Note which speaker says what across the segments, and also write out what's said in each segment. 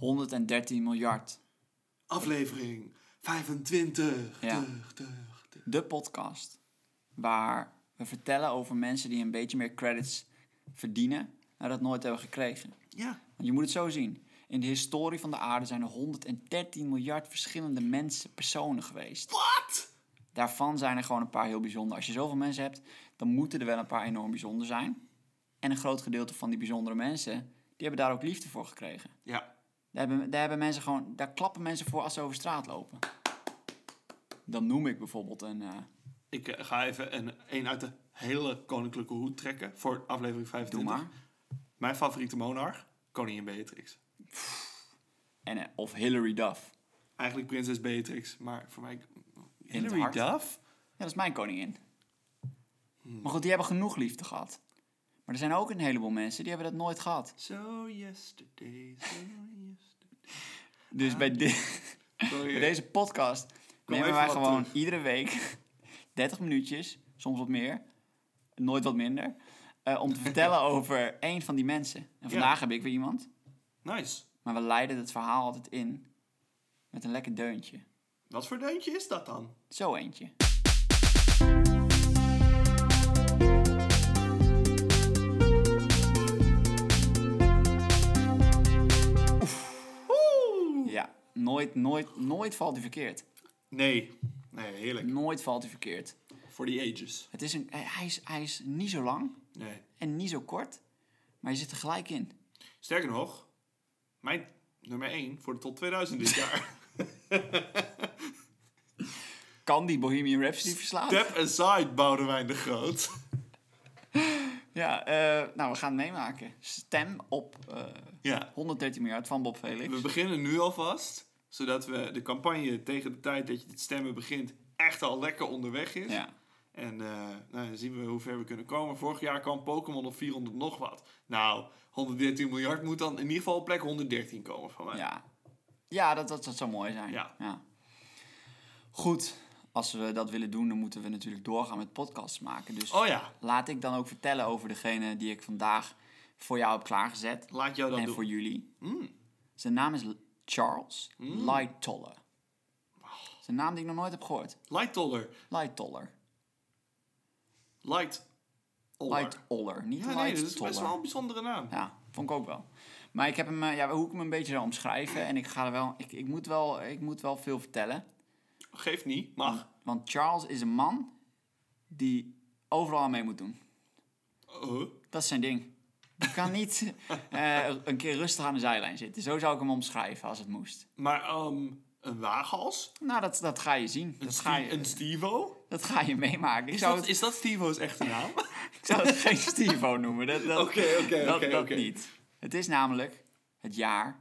Speaker 1: 113 miljard.
Speaker 2: Aflevering 25.
Speaker 1: Ja.
Speaker 2: Tug, tug, tug.
Speaker 1: De podcast waar we vertellen over mensen die een beetje meer credits verdienen, maar dat nooit hebben gekregen.
Speaker 2: Ja.
Speaker 1: Want je moet het zo zien. In de historie van de aarde zijn er 113 miljard verschillende mensen, personen geweest.
Speaker 2: Wat?
Speaker 1: Daarvan zijn er gewoon een paar heel bijzonder. Als je zoveel mensen hebt, dan moeten er wel een paar enorm bijzonder zijn. En een groot gedeelte van die bijzondere mensen, die hebben daar ook liefde voor gekregen.
Speaker 2: Ja.
Speaker 1: Daar, hebben, daar, hebben mensen gewoon, daar klappen mensen voor als ze over straat lopen. Dan noem ik bijvoorbeeld een... eh,
Speaker 2: Ik eh, ga even een, een uit de hele koninklijke hoed trekken voor aflevering
Speaker 1: doe
Speaker 2: 25.
Speaker 1: maar.
Speaker 2: Mijn favoriete monarch, koningin Beatrix.
Speaker 1: En, eh, of Hillary Duff.
Speaker 2: Eigenlijk prinses Beatrix, maar voor mij...
Speaker 1: hart.
Speaker 2: Duff?
Speaker 1: Ja, dat is mijn koningin.
Speaker 2: Hmm.
Speaker 1: Maar goed, die hebben genoeg liefde gehad. Maar er zijn ook een heleboel mensen die hebben dat nooit gehad.
Speaker 2: So yesterday, so yesterday.
Speaker 1: Dus bij, di- bij
Speaker 2: Sorry.
Speaker 1: deze podcast nemen
Speaker 2: even
Speaker 1: wij
Speaker 2: wat
Speaker 1: gewoon
Speaker 2: terug.
Speaker 1: iedere week 30 minuutjes, soms wat meer, nooit wat minder, eh, om te vertellen over één van die mensen. En vandaag heb ik weer iemand,
Speaker 2: Nice.
Speaker 1: maar we leiden het verhaal altijd in met een lekker deuntje.
Speaker 2: Wat voor deuntje is dat dan?
Speaker 1: Zo eentje.
Speaker 2: Oeh.
Speaker 1: Ja, nooit, nooit, nooit valt hij verkeerd.
Speaker 2: Nee. Nee, heerlijk.
Speaker 1: Nooit valt hij verkeerd.
Speaker 2: For the ages.
Speaker 1: Het is een, hij, is, hij is niet zo lang
Speaker 2: Nee.
Speaker 1: en niet zo kort, maar je zit er gelijk in.
Speaker 2: Sterker nog, mijn nummer 1 voor de top 2000 dit jaar.
Speaker 1: Kan die Bohemian Rhapsody verslaan?
Speaker 2: Step aside, Boudewijn de Groot.
Speaker 1: Ja, eh, nou, we gaan het meemaken. Stem op eh,
Speaker 2: Ja,
Speaker 1: 113 miljard van Bob Felix.
Speaker 2: we beginnen nu alvast, zodat we de campagne tegen de tijd dat je dit stemmen begint echt al lekker onderweg is.
Speaker 1: Ja.
Speaker 2: En eh, nou, dan zien we hoe ver we kunnen komen. Vorig jaar kwam Pokémon op 400 nog wat. Nou, 113 miljard moet dan in ieder geval op plek 113 komen van mij.
Speaker 1: Ja, ja dat, dat, dat zou mooi zijn.
Speaker 2: Ja.
Speaker 1: Goed, als we dat willen doen, dan moeten we natuurlijk doorgaan met podcasts maken. Dus
Speaker 2: Oh ja,
Speaker 1: laat ik dan ook vertellen over degene die ik vandaag voor jou heb klaargezet.
Speaker 2: laat jou dat
Speaker 1: en
Speaker 2: doen. Mm.
Speaker 1: voor jullie. Zijn naam is L- Charles Lightoller. Zijn naam die ik nog nooit heb gehoord.
Speaker 2: Lightoller.
Speaker 1: Lightoller.
Speaker 2: Light.
Speaker 1: Lightoller, niet
Speaker 2: Ja, nee, dat is best wel
Speaker 1: Lightoller.
Speaker 2: een bijzondere naam.
Speaker 1: Ja, vond ik ook wel. Maar ik heb hem, eh, ja, hoe ik hem een beetje zou omschrijven. En ik ga er wel, ik, ik moet wel, ik moet wel veel vertellen.
Speaker 2: Geeft niet, mag.
Speaker 1: Want Charles is een man die overal aan mee moet doen.
Speaker 2: Oh.
Speaker 1: Dat is zijn ding. Je kan niet eh, een keer rustig aan de zijlijn zitten. Zo zou ik hem omschrijven als het moest.
Speaker 2: Maar ehm, een waaghals?
Speaker 1: Nou, dat, dat ga je zien. Dat ga je,
Speaker 2: Een Stevo?
Speaker 1: dat ga je meemaken. Ik
Speaker 2: Is
Speaker 1: zou,
Speaker 2: dat,
Speaker 1: het,
Speaker 2: is dat Stevo's echte naam?
Speaker 1: ik zou het geen Stevo noemen. Dat, dat,
Speaker 2: Oké, oké,
Speaker 1: dat,
Speaker 2: oké,
Speaker 1: dat
Speaker 2: oké.
Speaker 1: niet. Het is namelijk het jaar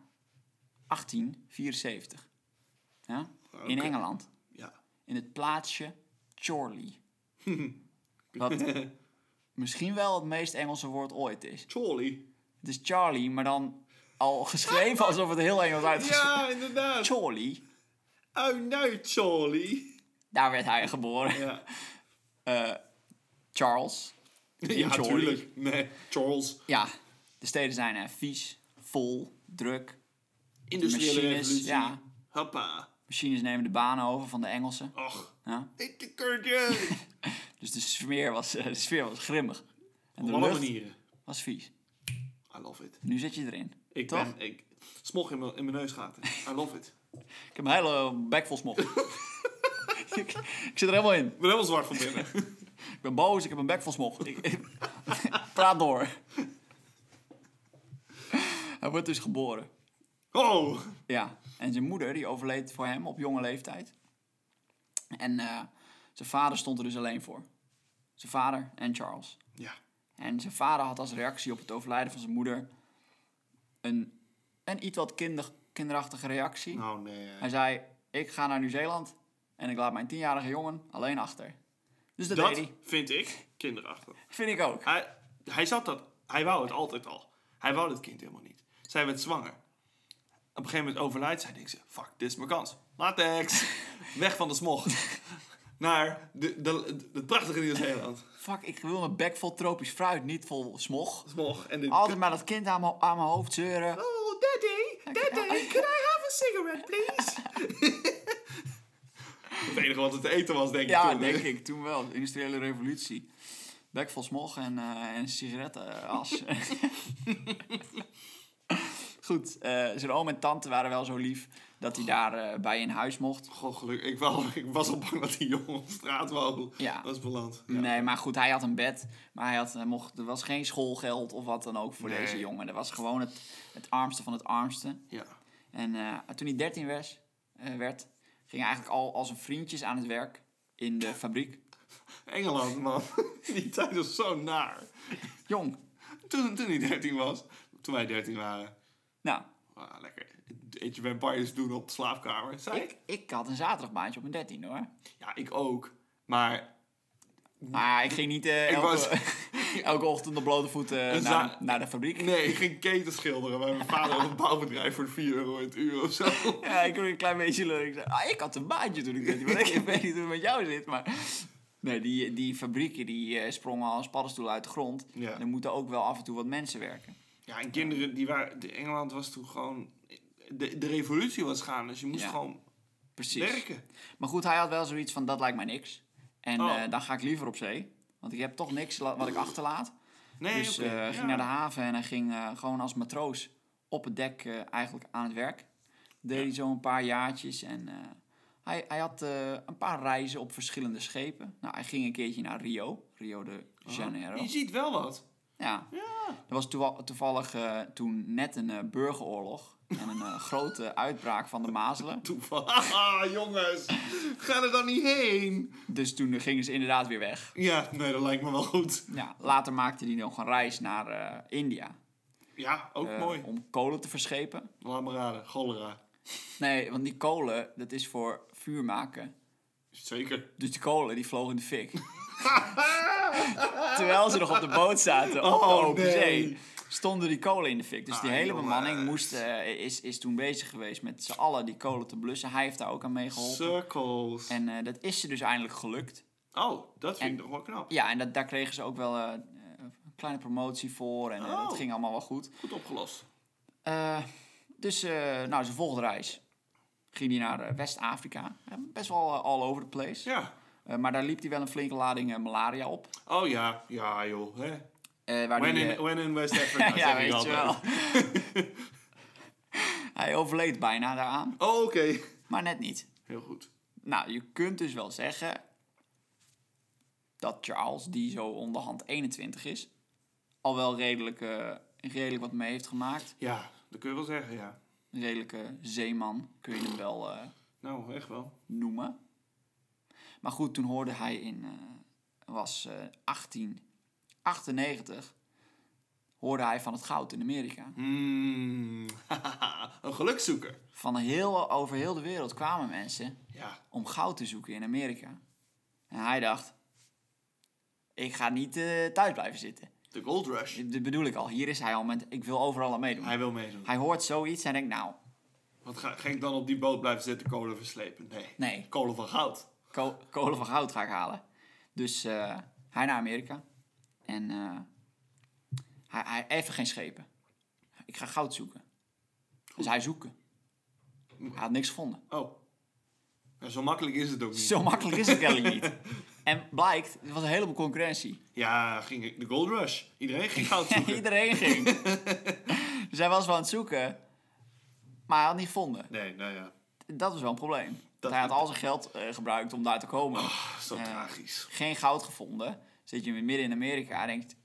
Speaker 1: 1874. Ja? In
Speaker 2: Oké.
Speaker 1: Engeland.
Speaker 2: ja.
Speaker 1: in het plaatsje Chorley. Wat misschien wel het meest Engelse woord ooit is.
Speaker 2: Charlie.
Speaker 1: Het is Charlie, maar dan al geschreven alsof het heel Engels uitgeschreven
Speaker 2: Ja, inderdaad.
Speaker 1: Chorley,
Speaker 2: Oh nou, Charlie.
Speaker 1: daar werd hij geboren.
Speaker 2: Ja,
Speaker 1: Charles.
Speaker 2: ja
Speaker 1: Charlie.
Speaker 2: tuurlijk. Nee, Charles.
Speaker 1: Ja, de steden zijn eh, vies, vol, druk.
Speaker 2: Industriële
Speaker 1: Machines,
Speaker 2: revolutie.
Speaker 1: ja.
Speaker 2: Hoppa.
Speaker 1: Machines nemen de banen over van de Engelsen.
Speaker 2: Och.
Speaker 1: Ja?
Speaker 2: Ik de kurtje.
Speaker 1: Dus de sfeer was, eh, de sfeer was grimmig. En
Speaker 2: Op
Speaker 1: de
Speaker 2: alle
Speaker 1: lucht
Speaker 2: manieren.
Speaker 1: was vies.
Speaker 2: I love it.
Speaker 1: Nu zit je erin.
Speaker 2: Ik
Speaker 1: Toch?
Speaker 2: ben... Ik, smog in mijn in mijn neusgaten. I love it.
Speaker 1: Ik heb een hele bek vol smog. ik, ik zit er helemaal in.
Speaker 2: Ik ben helemaal zwart van binnen.
Speaker 1: Ik ben boos, ik heb een bek vol smog. Ik- ik- Praat door. Hij wordt dus geboren.
Speaker 2: Oh.
Speaker 1: Ja. En zijn moeder, die overleed voor hem op jonge leeftijd. En eh, zijn vader stond er dus alleen voor. Zijn vader en Charles.
Speaker 2: Ja.
Speaker 1: En zijn vader had als reactie op het overlijden van zijn moeder... een, een iets wat kinder, kinderachtige reactie.
Speaker 2: Nou, nee.
Speaker 1: Hij zei, ik ga naar Nieuw-Zeeland... en ik laat mijn tienjarige jongen alleen achter. Dus dat, deed
Speaker 2: Dat
Speaker 1: hij.
Speaker 2: vind ik kinderachtig.
Speaker 1: Vind ik ook.
Speaker 2: Hij, hij zat dat. Hij wou het altijd al. Hij wou dat kind helemaal niet. Zij werd zwanger. Op een gegeven moment overlijdt zij. Denkt ze: Fuck, dit is mijn kans. Latex. Weg van de smog. Naar de, de, de, prachtige Nieuw-Zeeland.
Speaker 1: Fuck, ik wil mijn bek vol tropisch fruit, niet vol smog.
Speaker 2: Smog en de.
Speaker 1: Altijd maar dat kind aan mijn aan mijn hoofd zeuren.
Speaker 2: Oh, daddy. Daddy. cigarette, please? het enige wat het te eten was, denk ik
Speaker 1: Ja,
Speaker 2: toen.
Speaker 1: denk ik. Toen wel. De industriële revolutie. Bek vol smog en, eh, en sigarettenas. Goed, eh, zijn oom en tante waren wel zo lief dat hij daar eh, bij in huis mocht.
Speaker 2: Goh, gelukkig. Ik, wou- ik was al bang dat die jongen op straat wou.
Speaker 1: Ja.
Speaker 2: Dat is beland. Ja.
Speaker 1: Nee, maar goed, hij had een bed. Maar hij had, hij mocht, er was geen schoolgeld of wat dan ook voor
Speaker 2: Nee.
Speaker 1: deze jongen. Dat was gewoon het, het armste van het armste.
Speaker 2: Ja.
Speaker 1: En eh, toen hij 13 was, eh, werd, ging hij eigenlijk al als een vriendjes aan het werk in de fabriek.
Speaker 2: Engeland, man. Die tijd was zo naar.
Speaker 1: Jong.
Speaker 2: Toen, toen hij 13 was, toen wij 13 waren.
Speaker 1: Nou,
Speaker 2: Ah, lekker. Age of Empires doen op de slaapkamer. Zei ik?
Speaker 1: ik, ik had een zaterdagbaantje op mijn 13 hoor.
Speaker 2: Ja, ik ook. Maar
Speaker 1: Maar ik ging niet eh, elke,
Speaker 2: was-
Speaker 1: elke ochtend op blote voeten eh,
Speaker 2: Een
Speaker 1: naar,
Speaker 2: za-
Speaker 1: naar de fabriek.
Speaker 2: nee, ik ging keten schilderen bij mijn vader op een bouwbedrijf voor 4 euro het uur of zo.
Speaker 1: Ja, ik kon een klein beetje leuk. Ik zei, ah, ik had een baantje toen ik 13 was. Ik weet niet hoe het met jou zit, maar... Nee, die, die fabrieken die eh, sprongen als paddenstoelen uit de grond.
Speaker 2: Ja.
Speaker 1: En er moeten ook wel af en toe wat mensen werken.
Speaker 2: Ja, en kinderen, die waren... De Engeland was toen gewoon... De, de revolutie was gaande, dus je moest
Speaker 1: Ja.
Speaker 2: gewoon
Speaker 1: Precies.
Speaker 2: werken.
Speaker 1: Maar goed, hij had wel zoiets van, dat lijkt mij niks. En
Speaker 2: Oh.
Speaker 1: eh, dan ga ik liever op zee. Want ik heb toch niks la- wat ik achterlaat.
Speaker 2: Nee,
Speaker 1: dus
Speaker 2: oké,
Speaker 1: eh,
Speaker 2: ja.
Speaker 1: ging naar de haven en hij ging eh, gewoon als matroos op het dek eh, eigenlijk aan het werk. Deed
Speaker 2: Ja.
Speaker 1: hij zo een paar jaartjes en eh, hij, hij had eh, een paar reizen op verschillende schepen. Nou, hij ging een keertje naar Rio, Rio de Janeiro.
Speaker 2: Je ziet wel wat.
Speaker 1: Ja,
Speaker 2: Oh, Ja.
Speaker 1: er was toewa- toevallig eh, toen net een eh, burgeroorlog en een eh, grote uitbraak van de mazelen.
Speaker 2: Toeval. Ah, jongens. Ga er dan niet heen.
Speaker 1: Dus toen gingen ze inderdaad weer weg.
Speaker 2: Ja, nee, dat lijkt me wel goed.
Speaker 1: Ja, later maakte hij nog een reis naar eh, India
Speaker 2: Ja, ook
Speaker 1: eh,
Speaker 2: mooi.
Speaker 1: om kolen te verschepen.
Speaker 2: Laat me raden, cholera.
Speaker 1: Nee, want die kolen, dat is voor vuur maken.
Speaker 2: Zeker.
Speaker 1: Dus die kolen, die vlogen in de fik. Terwijl ze nog op de boot zaten, op de
Speaker 2: Oh,
Speaker 1: open
Speaker 2: nee.
Speaker 1: zee, stonden die kolen in de fik. Dus die
Speaker 2: Ah,
Speaker 1: hele
Speaker 2: jongens.
Speaker 1: bemanning moest, eh, is, is toen bezig geweest met z'n allen die kolen te blussen. Hij heeft daar ook aan meegeholpen.
Speaker 2: Circles.
Speaker 1: En eh, dat is ze dus eindelijk gelukt.
Speaker 2: Oh, dat vind
Speaker 1: En-
Speaker 2: ik nog wel knap.
Speaker 1: Ja, en dat, daar kregen ze ook wel eh, een kleine promotie voor. En eh,
Speaker 2: Oh.
Speaker 1: dat ging allemaal wel goed.
Speaker 2: Goed opgelost.
Speaker 1: Eh, dus, eh, nou, zijn volgende reis ging hij naar eh, West-Afrika. Eh, Best wel eh, all over the place.
Speaker 2: Ja.
Speaker 1: Eh, maar daar liep hij wel een flinke lading eh, malaria op.
Speaker 2: Oh ja, ja joh. Hè.
Speaker 1: Eh, waar
Speaker 2: When,
Speaker 1: die,
Speaker 2: in,
Speaker 1: eh,
Speaker 2: when in West Africa,
Speaker 1: ja,
Speaker 2: zeg ik
Speaker 1: weet je
Speaker 2: altijd.
Speaker 1: wel. hij overleed bijna daaraan,
Speaker 2: Oh, oké.
Speaker 1: maar net niet.
Speaker 2: Heel goed.
Speaker 1: Nou, je kunt dus wel zeggen dat Charles, die zo onderhand 21 is, al wel redelijk, eh, redelijk wat mee heeft gemaakt.
Speaker 2: Ja, dat kun je wel zeggen, ja.
Speaker 1: Een redelijke zeeman kun je hem wel eh,
Speaker 2: Nou, echt wel.
Speaker 1: noemen. Maar goed, toen hoorde hij in, eh, was eh, 1898, hoorde hij van het goud in Amerika.
Speaker 2: Hmm. een gelukzoeker.
Speaker 1: Van heel, over heel de wereld kwamen mensen
Speaker 2: Ja.
Speaker 1: om goud te zoeken in Amerika. En hij dacht, ik ga niet eh, thuis blijven zitten.
Speaker 2: De Gold Rush.
Speaker 1: Dit bedoel ik al, hier is hij al met, ik wil overal aan meedoen.
Speaker 2: Hij wil meedoen.
Speaker 1: Hij hoort zoiets en denkt, nou,
Speaker 2: Wat ga, ga ik dan op die boot blijven zitten kolen verslepen? Nee.
Speaker 1: nee,
Speaker 2: Kolen van goud.
Speaker 1: ko- kolen van goud ga ik halen. Dus eh, hij naar Amerika. En eh, hij, hij even geen schepen. Ik ga goud zoeken. Dus hij zoeken. Hij had niks gevonden.
Speaker 2: Oh. Ja, zo makkelijk is het ook niet.
Speaker 1: Zo makkelijk is het kennelijk niet. En blijkt, er was een heleboel concurrentie.
Speaker 2: Ja, ging ik, de Gold Rush. Iedereen ging goud zoeken.
Speaker 1: Iedereen ging. dus hij was wel aan het zoeken, maar hij had niet gevonden.
Speaker 2: nee, nou ja.
Speaker 1: Dat was wel een probleem. Want hij had al zijn geld eh, gebruikt om daar te komen.
Speaker 2: Zo Ah, tragisch.
Speaker 1: Geen goud gevonden. Zit je midden in Amerika en denkt,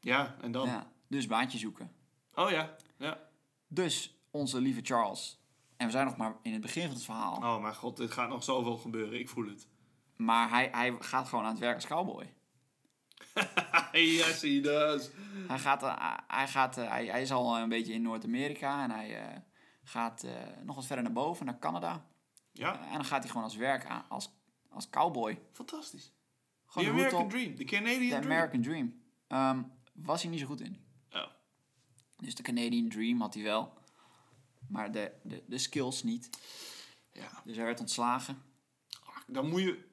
Speaker 2: Ja, en dan?
Speaker 1: ja, dus baantje zoeken.
Speaker 2: Oh ja. ja.
Speaker 1: Dus onze lieve Charles. En we zijn nog maar in het begin van het verhaal.
Speaker 2: Oh mijn god, dit gaat nog zoveel gebeuren. Ik voel het.
Speaker 1: Maar hij, hij gaat gewoon aan het werk als cowboy.
Speaker 2: yes, he does.
Speaker 1: Hij, gaat, eh, hij, gaat, eh, hij, hij is al een beetje in Noord-Amerika. En hij eh, gaat eh, nog wat verder naar boven, naar Canada. Eh,
Speaker 2: Ja,
Speaker 1: En dan gaat hij gewoon als werk aan, als, als cowboy.
Speaker 2: fantastisch. The
Speaker 1: Gewoon de hoed
Speaker 2: American
Speaker 1: op.
Speaker 2: Dream. The
Speaker 1: De
Speaker 2: Canadian Dream.
Speaker 1: American Dream. Ehm, was hij niet zo goed in.
Speaker 2: Oh.
Speaker 1: Dus de Canadian Dream had hij wel. Maar de, de, de skills niet.
Speaker 2: Ja.
Speaker 1: Dus hij werd ontslagen.
Speaker 2: Ah, Dan moet je...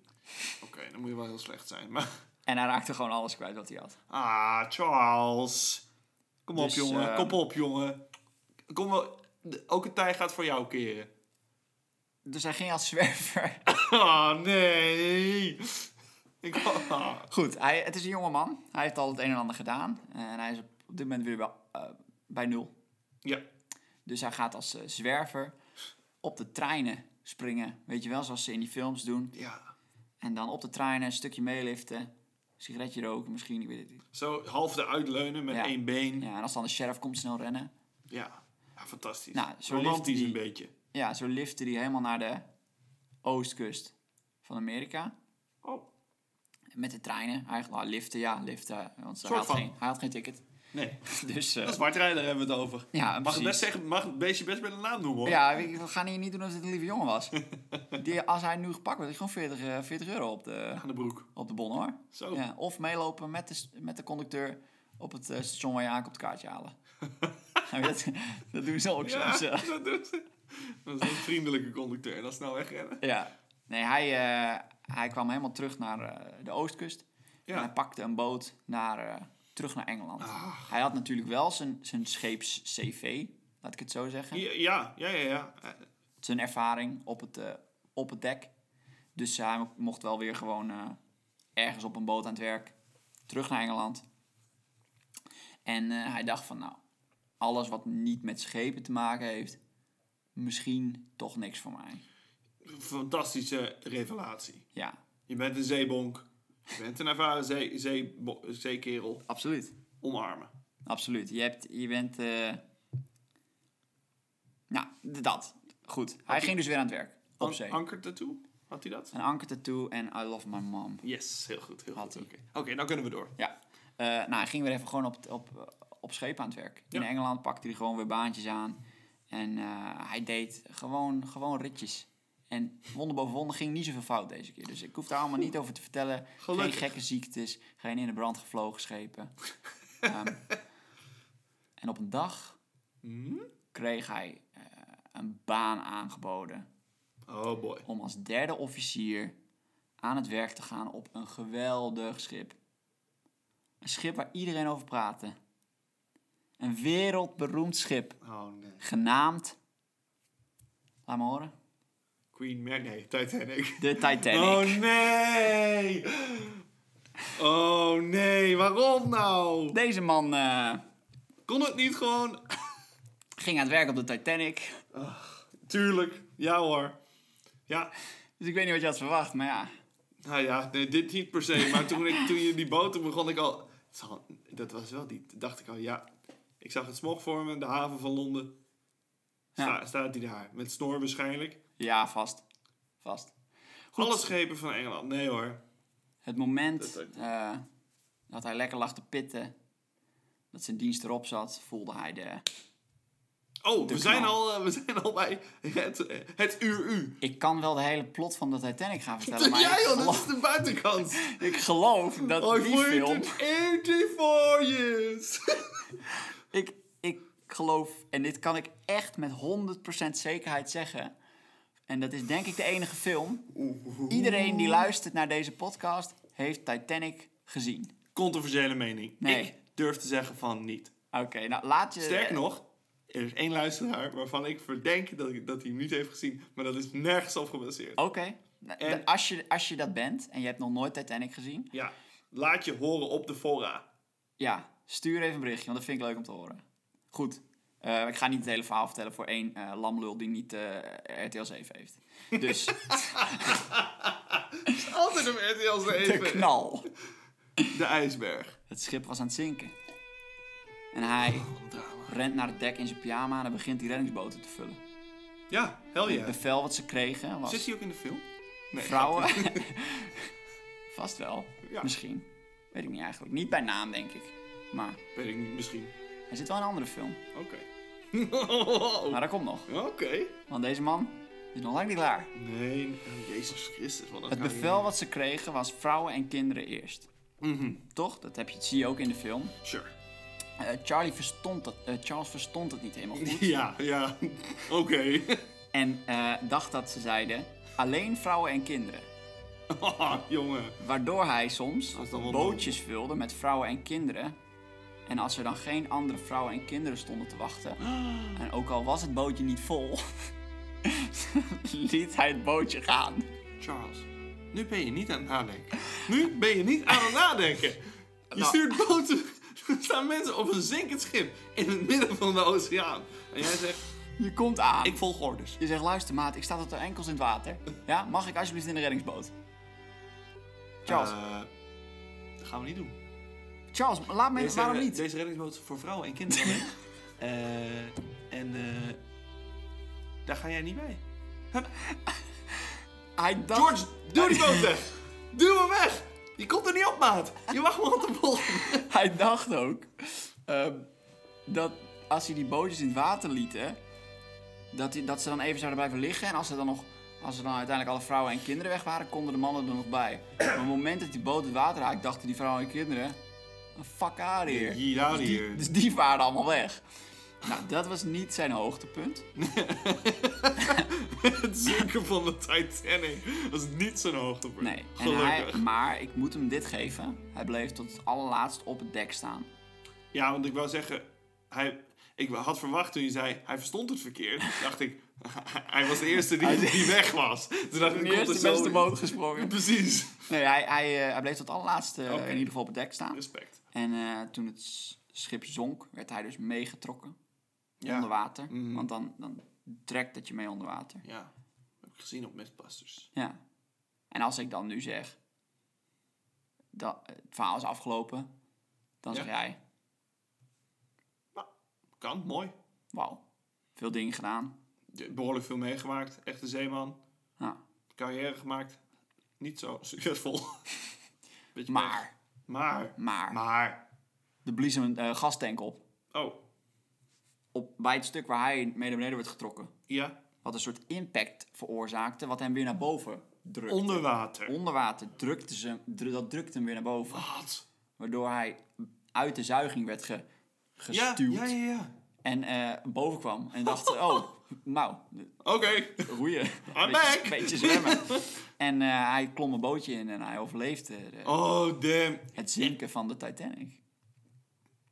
Speaker 2: Oké, dan moet je wel heel slecht zijn. Maar...
Speaker 1: En hij raakte gewoon alles kwijt wat hij had.
Speaker 2: Ah, Charles. Kom op,
Speaker 1: Dus,
Speaker 2: jongen.
Speaker 1: ehm,
Speaker 2: Kom op, jongen. Kom wel... de- ook het tij gaat voor jou keren.
Speaker 1: Dus hij ging als zwerver.
Speaker 2: Oh nee. Ik, ah.
Speaker 1: Goed, hij, het is een jonge man. Hij heeft al het een en ander gedaan. En hij is op op dit moment weer bij, eh, bij nul.
Speaker 2: Ja.
Speaker 1: Dus hij gaat als eh, zwerver op de treinen springen. Weet je wel, zoals ze in die films doen.
Speaker 2: ja.
Speaker 1: En dan op de treinen een stukje meeliften. Sigaretje roken misschien, ik weet het niet.
Speaker 2: Zo half eruit leunen met
Speaker 1: Ja.
Speaker 2: één been. Ja.
Speaker 1: Ja, en als dan de sheriff komt, snel rennen.
Speaker 2: ja. fantastisch.
Speaker 1: Nou, zo lift
Speaker 2: Romantisch
Speaker 1: die-
Speaker 2: een beetje.
Speaker 1: Ja, zo liften die helemaal naar de oostkust van Amerika.
Speaker 2: Oh.
Speaker 1: Met de treinen eigenlijk. Nou, liften, ja, liften. Want hij
Speaker 2: Soort
Speaker 1: had,
Speaker 2: van.
Speaker 1: geen, hij had geen ticket.
Speaker 2: Nee.
Speaker 1: Dus, eh,
Speaker 2: Dat is Zwartrijder hebben we het over.
Speaker 1: ja,
Speaker 2: Mag het
Speaker 1: precies.
Speaker 2: best zeggen, mag het beestje best met een naam noemen hoor.
Speaker 1: Ja, we we gaan hier niet doen als het een lieve jongen was. Die, als hij nu gepakt wordt, is gewoon 40, eh, 40 euro op de,
Speaker 2: Aan de broek.
Speaker 1: op de bon hoor.
Speaker 2: Zo.
Speaker 1: Ja, of meelopen met de, s- met de conducteur op het eh, station waar je aankomt het kaartje halen. Nou, dat, dat doen ze ook
Speaker 2: Ja,
Speaker 1: soms. eh.
Speaker 2: dat doet ze. Dat is een vriendelijke conducteur. En dan snel wegrennen.
Speaker 1: Ja. Nee, hij, eh, hij kwam helemaal terug naar eh, de oostkust. En hij
Speaker 2: Ja.
Speaker 1: pakte een boot naar, eh, terug naar Engeland.
Speaker 2: Ah.
Speaker 1: Hij had natuurlijk wel zijn, zijn scheeps-cv, laat ik het zo zeggen.
Speaker 2: Ja, ja, ja, ja. ja. Eh,
Speaker 1: zijn ervaring op het, eh, op het dek. Dus hij mo- mocht wel weer gewoon eh, ergens op een boot aan het werk. Terug naar Engeland. En eh, hij dacht van nou, alles wat niet met schepen te maken heeft, misschien toch niks voor mij.
Speaker 2: Eh, Fantastische revelatie.
Speaker 1: Ja,
Speaker 2: Je bent een zeebonk. Je bent een ervaren zee, zeebo- zeekerel.
Speaker 1: absoluut.
Speaker 2: Omarmen.
Speaker 1: Absoluut. Je, hebt, je bent... eh, Nou, d- dat. Goed. Hij ging dus weer aan het werk. Op
Speaker 2: An
Speaker 1: zee.
Speaker 2: Anker tattoo? Had hij dat?
Speaker 1: Een anker tattoo en I love my mom.
Speaker 2: Yes, heel goed. Heel
Speaker 1: Had
Speaker 2: goed. Oké, Oké, dan kunnen we door.
Speaker 1: Ja. Eh, nou, hij ging weer even gewoon op, op, op scheep aan het werk. In
Speaker 2: Ja.
Speaker 1: Engeland pakte hij gewoon weer baantjes aan. En eh, hij deed gewoon, gewoon ritjes. En wonder boven wonder ging niet zoveel fout deze keer. Dus ik hoef daar allemaal niet over te vertellen.
Speaker 2: Gelukkig.
Speaker 1: Geen gekke ziektes, geen in de brand gevlogen schepen. Ehm, en op een dag
Speaker 2: Hmm?
Speaker 1: kreeg hij eh, een baan aangeboden
Speaker 2: Oh boy.
Speaker 1: om als derde officier aan het werk te gaan op een geweldig schip. Een schip waar iedereen over praatte. Een wereldberoemd schip,
Speaker 2: Oh nee.
Speaker 1: genaamd. Laat me horen.
Speaker 2: Queen Mary. Nee, Titanic.
Speaker 1: De Titanic.
Speaker 2: Oh nee! Oh nee, waarom nou?
Speaker 1: Deze man eh,
Speaker 2: Kon het niet gewoon?
Speaker 1: ging aan het werk op de Titanic.
Speaker 2: Tuurlijk, ja hoor. Ja,
Speaker 1: Dus ik weet niet wat je had verwacht, maar ja.
Speaker 2: nou ja, nee, dit niet per se. Maar toen, ik, toen je die boot, toen begon ik al... Het zal- Dat was wel die... dacht ik al, ja. Ik zag het smog vormen, de haven van Londen. Sta,
Speaker 1: Ja.
Speaker 2: Staat die daar, met snor waarschijnlijk.
Speaker 1: Ja, vast. Vast.
Speaker 2: Alle schepen van Engeland, nee hoor.
Speaker 1: Het moment
Speaker 2: Dat ook.
Speaker 1: eh, dat hij lekker lag te pitten, dat zijn dienst erop zat, voelde hij de...
Speaker 2: Oh,
Speaker 1: De
Speaker 2: we zijn,
Speaker 1: knal.
Speaker 2: al, eh, we zijn al bij het, eh, het uur u.
Speaker 1: Ik kan wel de hele plot van de Titanic gaan vertellen, maar
Speaker 2: Jij
Speaker 1: ik,
Speaker 2: joh, dat Oh,
Speaker 1: geloof,
Speaker 2: is de buitenkant.
Speaker 1: ik geloof dat
Speaker 2: I
Speaker 1: die film...
Speaker 2: waited 84 years.
Speaker 1: Ik, ik geloof, en dit kan ik echt met 100% zekerheid zeggen... en dat is denk ik de enige film... iedereen die luistert naar deze podcast heeft Titanic gezien.
Speaker 2: Controversiële mening.
Speaker 1: Nee.
Speaker 2: Ik durf te zeggen van niet.
Speaker 1: Oké, nou laat je...
Speaker 2: Sterker nog, er is één luisteraar waarvan ik verdenk dat, ik- dat hij hem niet heeft gezien. Maar dat is nergens op gebaseerd.
Speaker 1: Oké, Nou,
Speaker 2: En-
Speaker 1: als, je, als je dat bent en je hebt nog nooit Titanic gezien...
Speaker 2: Ja, laat je horen op de fora.
Speaker 1: Ja, stuur even een berichtje, want dat vind ik leuk om te horen. Goed. Eh, ik ga niet het hele verhaal vertellen voor één eh, lamlul die niet eh, RTL 7 heeft. Dus
Speaker 2: Het is altijd een RTL
Speaker 1: de
Speaker 2: 7.
Speaker 1: knal.
Speaker 2: De ijsberg.
Speaker 1: Het schip was aan het zinken. En
Speaker 2: Oh,
Speaker 1: hij rent naar het dek in zijn pyjama en dan begint die reddingsboten te vullen.
Speaker 2: Ja, hell
Speaker 1: Het
Speaker 2: yeah.
Speaker 1: bevel wat ze kregen was
Speaker 2: Zit hij ook in de film? Nee.
Speaker 1: vrouwen. Vast wel,
Speaker 2: Ja.
Speaker 1: misschien. Weet ik niet eigenlijk. Niet bij naam, denk ik. Maar
Speaker 2: Weet ik niet, misschien.
Speaker 1: hij zit wel in een andere film.
Speaker 2: Oké. Oh.
Speaker 1: Maar dat komt nog.
Speaker 2: Oké.
Speaker 1: Want deze man is nog lang niet klaar.
Speaker 2: Nee, Jezus Christus. Wat een
Speaker 1: Het
Speaker 2: carrière.
Speaker 1: bevel wat ze kregen was vrouwen en kinderen eerst.
Speaker 2: Mhm.
Speaker 1: Toch? Dat heb je, zie je ook in de film.
Speaker 2: Sure.
Speaker 1: Eh, Charlie verstond dat, eh, Charles verstond het niet helemaal goed.
Speaker 2: Ja, ja. Oké.
Speaker 1: En eh, dacht dat ze zeiden alleen vrouwen en kinderen.
Speaker 2: Haha, Oh, jongen.
Speaker 1: Waardoor hij soms
Speaker 2: is dan wel
Speaker 1: bootjes vulde met vrouwen en kinderen. En als er dan geen andere vrouwen en kinderen stonden te wachten, en ook al was het bootje niet vol, liet hij het bootje gaan.
Speaker 2: Charles, nu ben je niet aan het nadenken. Nu ben je niet aan het nadenken. Je
Speaker 1: Nou.
Speaker 2: stuurt boten. Er staan mensen op een zinkend schip in het midden van de oceaan. En jij zegt,
Speaker 1: Je komt aan.
Speaker 2: ik volg orders.
Speaker 1: Je zegt, luister maat, ik sta tot de enkels in het water. Ja, mag ik alsjeblieft in de reddingsboot? Charles,
Speaker 2: Eh, dat gaan we niet doen.
Speaker 1: Charles, laat me even, waarom niet?
Speaker 2: Deze reddingsboot is voor vrouwen en kinderen alleen. Eh, en eh, daar ga jij niet bij.
Speaker 1: Hij dacht,
Speaker 2: George, doe die boot weg! Duw hem weg! Je komt er niet op, maat! Je wacht maar op de volgende.
Speaker 1: hij dacht ook ehm, dat als hij die bootjes in het water lieten, dat, hij, dat ze dan even zouden blijven liggen. En als er dan nog, als er dan uiteindelijk alle vrouwen en kinderen weg waren, konden de mannen er nog bij. Maar op het moment dat die boot het water raakte, dachten die vrouwen en kinderen, fuck out here.
Speaker 2: Get out of here.
Speaker 1: Dus die waren allemaal weg. Nou, dat was niet zijn hoogtepunt.
Speaker 2: Het zinken van de Titanic was niet zijn hoogtepunt.
Speaker 1: Nee. En hij,
Speaker 2: Gelukkig.
Speaker 1: maar ik moet hem dit geven. Hij bleef tot het allerlaatst op het dek staan.
Speaker 2: Ja, want ik wou zeggen, hij, ik had verwacht toen je zei, hij verstond het verkeerd. dacht ik, hij was de eerste die, die weg was. Toen dacht ik,
Speaker 1: De
Speaker 2: komt er
Speaker 1: eerste
Speaker 2: zo
Speaker 1: beste
Speaker 2: in.
Speaker 1: boot gesprongen.
Speaker 2: Precies.
Speaker 1: Nee, hij, hij, eh, hij bleef tot het allerlaatste eh,
Speaker 2: Oké. Dus-
Speaker 1: in ieder geval op het dek staan.
Speaker 2: Respect.
Speaker 1: En eh, toen het s- schip zonk, werd hij dus meegetrokken
Speaker 2: Ja.
Speaker 1: onder water.
Speaker 2: Mhm.
Speaker 1: Want dan, dan trekt het je mee onder water.
Speaker 2: Ja, dat heb ik gezien op Mythbusters.
Speaker 1: Ja. En als ik dan nu zeg dat eh, het verhaal is afgelopen, dan
Speaker 2: Ja.
Speaker 1: zeg jij:
Speaker 2: Nou, kan, mooi.
Speaker 1: Wauw, veel dingen gedaan.
Speaker 2: Je- Behoorlijk veel meegemaakt, echte zeeman.
Speaker 1: Nou,
Speaker 2: Carrière gemaakt, niet zo succesvol. Beetje pech.
Speaker 1: maar,
Speaker 2: Maar.
Speaker 1: maar,
Speaker 2: Maar.
Speaker 1: er blies hem een eh, gastank op.
Speaker 2: Oh,
Speaker 1: op. Bij het stuk waar hij mee naar beneden werd getrokken.
Speaker 2: ja.
Speaker 1: Wat een soort impact veroorzaakte, wat hem weer naar boven drukte.
Speaker 2: Onder water.
Speaker 1: Onder water drukte ze, hem- dru- dat drukte hem weer naar boven.
Speaker 2: Wat?
Speaker 1: Waardoor hij uit de zuiging werd ge-
Speaker 2: Ja,
Speaker 1: gestuwd.
Speaker 2: ja, ja, ja.
Speaker 1: En eh, boven kwam. En dacht, oh, nou,
Speaker 2: Oké.
Speaker 1: roeien.
Speaker 2: I'm
Speaker 1: beetje,
Speaker 2: back.
Speaker 1: beetje zwemmen. en eh, hij klom een bootje in en hij overleefde de-
Speaker 2: Oh, damn.
Speaker 1: het zinken van de Titanic.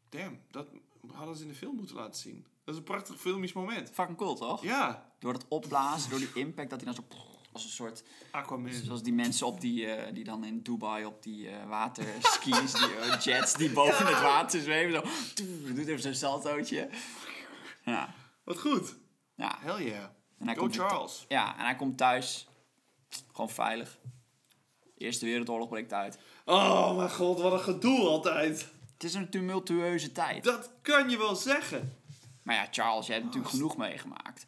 Speaker 2: Damn, dat hadden ze in de film moeten laten zien. Dat is een prachtig filmisch moment.
Speaker 1: Fucking cool, toch?
Speaker 2: Ja,
Speaker 1: Door dat opblazen, door die impact, dat hij dan zo... Als een soort...
Speaker 2: Aquaman.
Speaker 1: Zoals die mensen op die, eh, die dan in Dubai op die eh, waterski's, die eh, jets die boven het water zweven. Zo, doe- doet even zo'n saltootje. Ja,
Speaker 2: Wat goed.
Speaker 1: ja.
Speaker 2: Hell yeah.
Speaker 1: En hij
Speaker 2: Go
Speaker 1: komt-
Speaker 2: Charles.
Speaker 1: ja, en hij komt thuis. Gewoon veilig. Eerste Wereldoorlog breekt uit.
Speaker 2: Oh mijn god, wat een gedoe altijd.
Speaker 1: Het is een tumultueuze tijd.
Speaker 2: Dat kan je wel zeggen.
Speaker 1: Maar ja, Charles, jij hebt natuurlijk genoeg meegemaakt.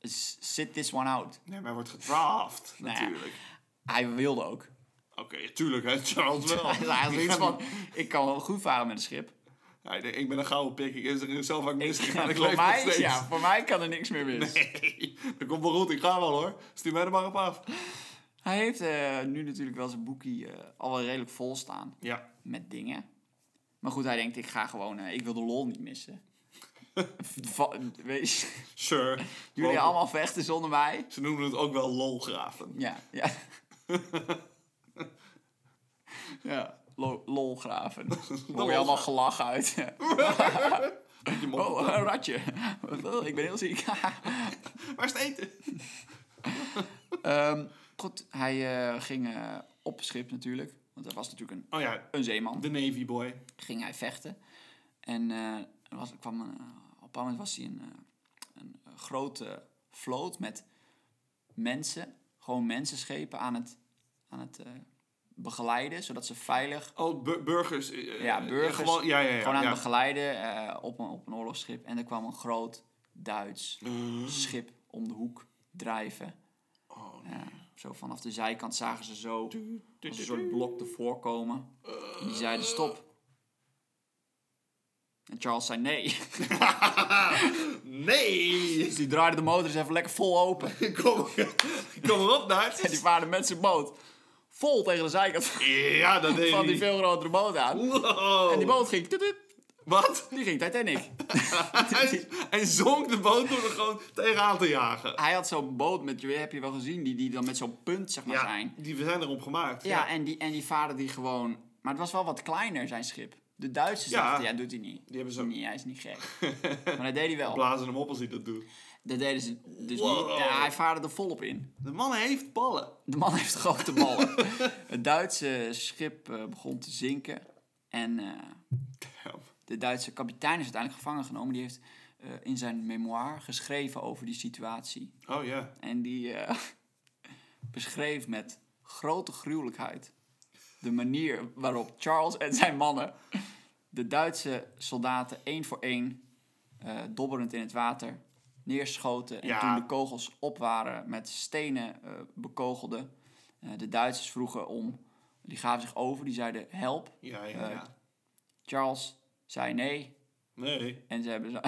Speaker 1: S- Sit this one out.
Speaker 2: Nee, maar hij wordt gedraft,
Speaker 1: Nou ja.
Speaker 2: natuurlijk.
Speaker 1: Hij wilde ook.
Speaker 2: Oké, tuurlijk hè, Charles wel.
Speaker 1: Hij had eigenlijk iets van, ik kan wel goed varen met een schip.
Speaker 2: Ja, Nou, ik denk, ik ben een gouden pik, ik is er zelf vaak misgegaan, ik
Speaker 1: voor,
Speaker 2: leef nog
Speaker 1: mij,
Speaker 2: steeds.
Speaker 1: ja, voor mij kan er niks meer mis.
Speaker 2: Hey, dat komt wel goed, ik ga wel hoor. Stuur mij er maar op af.
Speaker 1: Hij heeft eh, nu natuurlijk wel zijn boekie eh, al wel redelijk vol staan
Speaker 2: Ja,
Speaker 1: met dingen. Maar goed, hij denkt, ik ga gewoon, eh, ik wil de lol niet missen. Va- Weet je,
Speaker 2: sure.
Speaker 1: jullie
Speaker 2: Wel-
Speaker 1: allemaal vechten zonder mij.
Speaker 2: Ze noemen het ook wel lolgraven.
Speaker 1: Ja, ja. ja, lo- lolgraven. Dan hoor je allemaal gelach uit.
Speaker 2: Je mond-
Speaker 1: oh, een ratje. Oh, ik ben heel ziek.
Speaker 2: Waar is het eten?
Speaker 1: Ehm, goed, hij eh, ging eh, op schip natuurlijk. Want hij was natuurlijk een,
Speaker 2: Oh ja,
Speaker 1: een zeeman.
Speaker 2: de Navy boy.
Speaker 1: ging hij vechten. En eh, er was, er kwam een, eh, op een bepaald moment was hij een, eh, een grote vloot met mensen, gewoon mensenschepen aan het, aan het eh, begeleiden, zodat ze veilig,
Speaker 2: Oh, bu- burgers. eh,
Speaker 1: Ja,
Speaker 2: eh,
Speaker 1: burgers.
Speaker 2: Gewoon, ja, ja, ja.
Speaker 1: gewoon aan
Speaker 2: ja.
Speaker 1: het begeleiden eh, op, een, op een oorlogsschip. En er kwam een groot Duits schip om de hoek drijven.
Speaker 2: Mhm. Oh,
Speaker 1: Ja, zo vanaf de zijkant zagen ze zo als een soort blok ervoor komen. En die zeiden stop. En Charles zei nee.
Speaker 2: Nee!
Speaker 1: Dus die draaide de motor eens even lekker vol open.
Speaker 2: Kom, kom erop,
Speaker 1: En die
Speaker 2: Duitsers.
Speaker 1: vaarde met zijn boot vol tegen de zijkant
Speaker 2: Ja, dat deed
Speaker 1: van die
Speaker 2: hij.
Speaker 1: veel grotere boot aan.
Speaker 2: Wow.
Speaker 1: En die boot ging... tut, tut,
Speaker 2: Wat?
Speaker 1: Die ging Titanic.
Speaker 2: Hij, hij zonk de boot door er gewoon tegenaan te jagen.
Speaker 1: Hij had zo'n boot met, heb je wel gezien, die, die dan met zo'n punt zeg maar zijn.
Speaker 2: die we zijn erop gemaakt.
Speaker 1: Ja, en die, en die vaarde die gewoon... Maar het was wel wat kleiner, zijn schip. De Duitsers
Speaker 2: Ja.
Speaker 1: dachten, ja, doet hij niet.
Speaker 2: Die hebben ze
Speaker 1: Nee, hij is niet gek. maar dat deed hij wel.
Speaker 2: blazen hem op als hij dat doet.
Speaker 1: Dat deden ze dus
Speaker 2: Wow.
Speaker 1: niet. Ja, hij vaarde er volop in.
Speaker 2: De man heeft ballen.
Speaker 1: De man heeft grote ballen. het Duitse schip eh, begon te zinken. En eh, de Duitse kapitein is uiteindelijk gevangen genomen. Die heeft eh, in zijn memoir geschreven over die situatie.
Speaker 2: Oh ja.
Speaker 1: En die eh, beschreef met grote gruwelijkheid de manier waarop Charles en zijn mannen de Duitse soldaten één voor één eh, dobberend in het water neerschoten. En
Speaker 2: Ja.
Speaker 1: toen de kogels op waren met stenen eh bekogelden. Eh, de Duitsers vroegen om, die gaven zich over, die zeiden help.
Speaker 2: Ja, ja, ja.
Speaker 1: Charles zei nee
Speaker 2: Nee.
Speaker 1: en ze hebben ze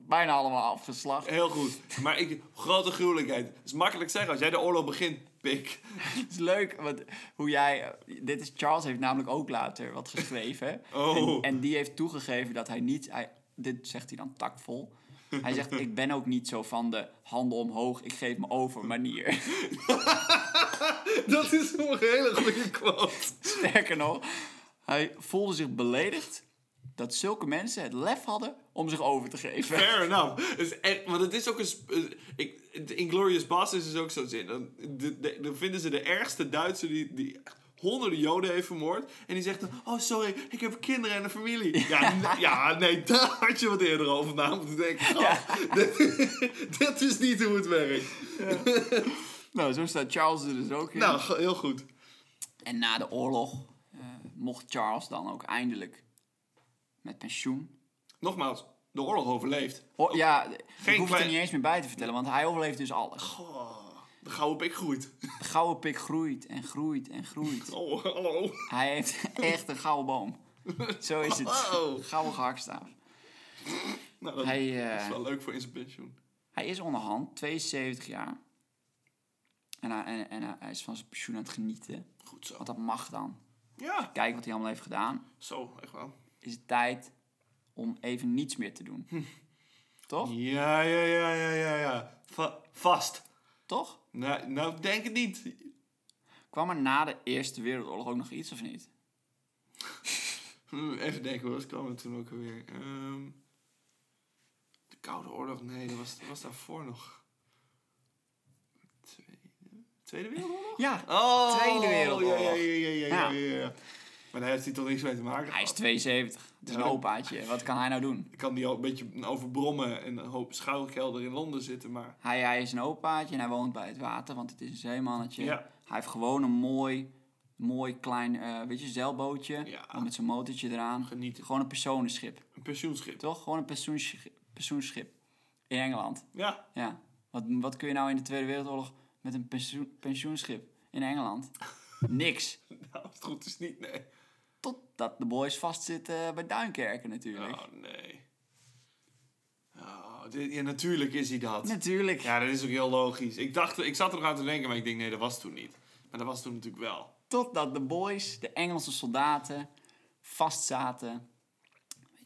Speaker 1: bijna allemaal afgeslacht.
Speaker 2: Heel goed. Maar ik, grote gruwelijkheid. Het is makkelijk zeggen als jij de oorlog begint, pik.
Speaker 1: Het is leuk, want hoe jij... Dit is... Charles heeft namelijk ook later wat geschreven. hè.
Speaker 2: Oh.
Speaker 1: En, en die heeft toegegeven dat hij niet... Hij, dit zegt hij dan taktvol. Hij zegt, ik ben ook niet zo van de handen omhoog, ik geef me over manier.
Speaker 2: Dat is een hele goede quote.
Speaker 1: Sterker nog, hij voelde zich beledigd dat zulke mensen het lef hadden om zich over te geven.
Speaker 2: Fair enough. Het Is echt, want het is ook een. sp- eh, Ik, de Inglorious Bastards is ook zo'n zin. Dan, de- de- dan vinden ze de ergste Duitser die, die echt honderden Joden heeft vermoord. En die zegt dan: Oh, sorry, ik heb kinderen en een familie. Ja, n- ja nee, daar had je wat eerder over na moeten denken. Oh, dit, dit is niet hoe het werkt.
Speaker 1: Nou, zo staat Charles er dus ook in.
Speaker 2: Nou, ge- heel goed.
Speaker 1: En na de oorlog eh, mocht Charles dan ook eindelijk met pensioen.
Speaker 2: Nogmaals, de oorlog overleeft.
Speaker 1: Ho- ja, ik hoef het
Speaker 2: klein-
Speaker 1: er niet eens meer bij te vertellen, want hij overleeft dus alles.
Speaker 2: Oh, de gouden pik groeit.
Speaker 1: De gouden pik groeit en groeit en groeit.
Speaker 2: Oh, hallo.
Speaker 1: Hij heeft echt een gouden boom. Zo is het.
Speaker 2: Wow.
Speaker 1: Gouden gehakstaaf.
Speaker 2: Nou, dat
Speaker 1: Hij,
Speaker 2: is
Speaker 1: eh,
Speaker 2: wel leuk voor in zijn pensioen.
Speaker 1: hij is onderhand 72 jaar. En, hij, en, en hij- hij is van zijn pensioen aan het genieten.
Speaker 2: Goed zo.
Speaker 1: Want dat mag dan.
Speaker 2: Ja,
Speaker 1: Kijk wat hij allemaal heeft gedaan.
Speaker 2: zo, echt wel.
Speaker 1: Is het tijd om even niets meer te doen. Toch?
Speaker 2: Ja, ja, ja, ja, ja, ja. Va- vast.
Speaker 1: Toch?
Speaker 2: Nou, nou, denk het niet.
Speaker 1: Kwam er na de Eerste Wereldoorlog ook nog iets of niet?
Speaker 2: Hm, Even denken, wat kwam er toen ook alweer? Ehm, de Koude Oorlog, nee, dat was, was daarvoor nog. Tweede, Tweede Wereldoorlog?
Speaker 1: Ja,
Speaker 2: Oh,
Speaker 1: Tweede Wereldoorlog.
Speaker 2: Ja, ja, ja, ja,
Speaker 1: Ja.
Speaker 2: ja, ja, ja. Maar daar heeft hij toch niks mee te maken
Speaker 1: Hij is
Speaker 2: gehad.
Speaker 1: 72. Het is een
Speaker 2: Ja.
Speaker 1: opaatje. Wat kan hij nou doen?
Speaker 2: Ik kan die ook een beetje overbrommen en een hoop schuilkelder in Londen zitten, maar...
Speaker 1: Hij, hij is een opaatje en hij woont bij het water, want het is een zeemannetje.
Speaker 2: Ja.
Speaker 1: Hij heeft gewoon een mooi, mooi klein, eh, weet je, zeilbootje.
Speaker 2: Ja.
Speaker 1: Met zijn motortje eraan.
Speaker 2: Genieten.
Speaker 1: Gewoon een personenschip,
Speaker 2: Een pensioenschip.
Speaker 1: toch? Gewoon een pensioenschip, pensioenschip. in Engeland.
Speaker 2: Ja,
Speaker 1: Ja. Wat, wat kun je nou in de Tweede Wereldoorlog met een pensioen, pensioenschip in Engeland? Niks.
Speaker 2: nou, als het goed is niet, nee.
Speaker 1: Totdat de boys vastzitten eh, bij Duinkerken natuurlijk.
Speaker 2: Oh, nee. Oh, dit- ja, natuurlijk is hij dat.
Speaker 1: Natuurlijk.
Speaker 2: Ja, dat is ook heel logisch. Ik, dacht, ik zat er nog aan te denken, maar ik denk, nee, dat was toen niet. Maar dat was toen natuurlijk wel.
Speaker 1: Totdat de boys, de Engelse soldaten, vastzaten